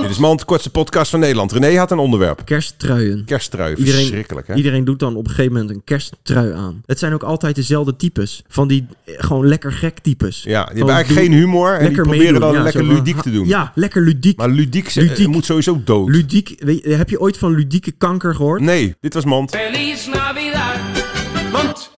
Dit is Mand, kortste podcast van Nederland. René had een onderwerp. Kersttruien. Kersttrui, verschrikkelijk hè? iedereen doet dan op een gegeven moment een kersttrui aan. Het zijn ook altijd dezelfde types. Van die eh, gewoon lekker gek Ja, types. die Gewoon hebben eigenlijk doen- geen humor en die lekker proberen meedoen, dan ja, lekker zo van, ludiek ha- te doen. Ja, lekker ludiek. Maar ludiek, ze- Ludiek. eh, moet sowieso dood. ludiek weet je, heb je ooit van ludieke kanker gehoord? Nee, dit was Mand. Feliz Navidad. Mont.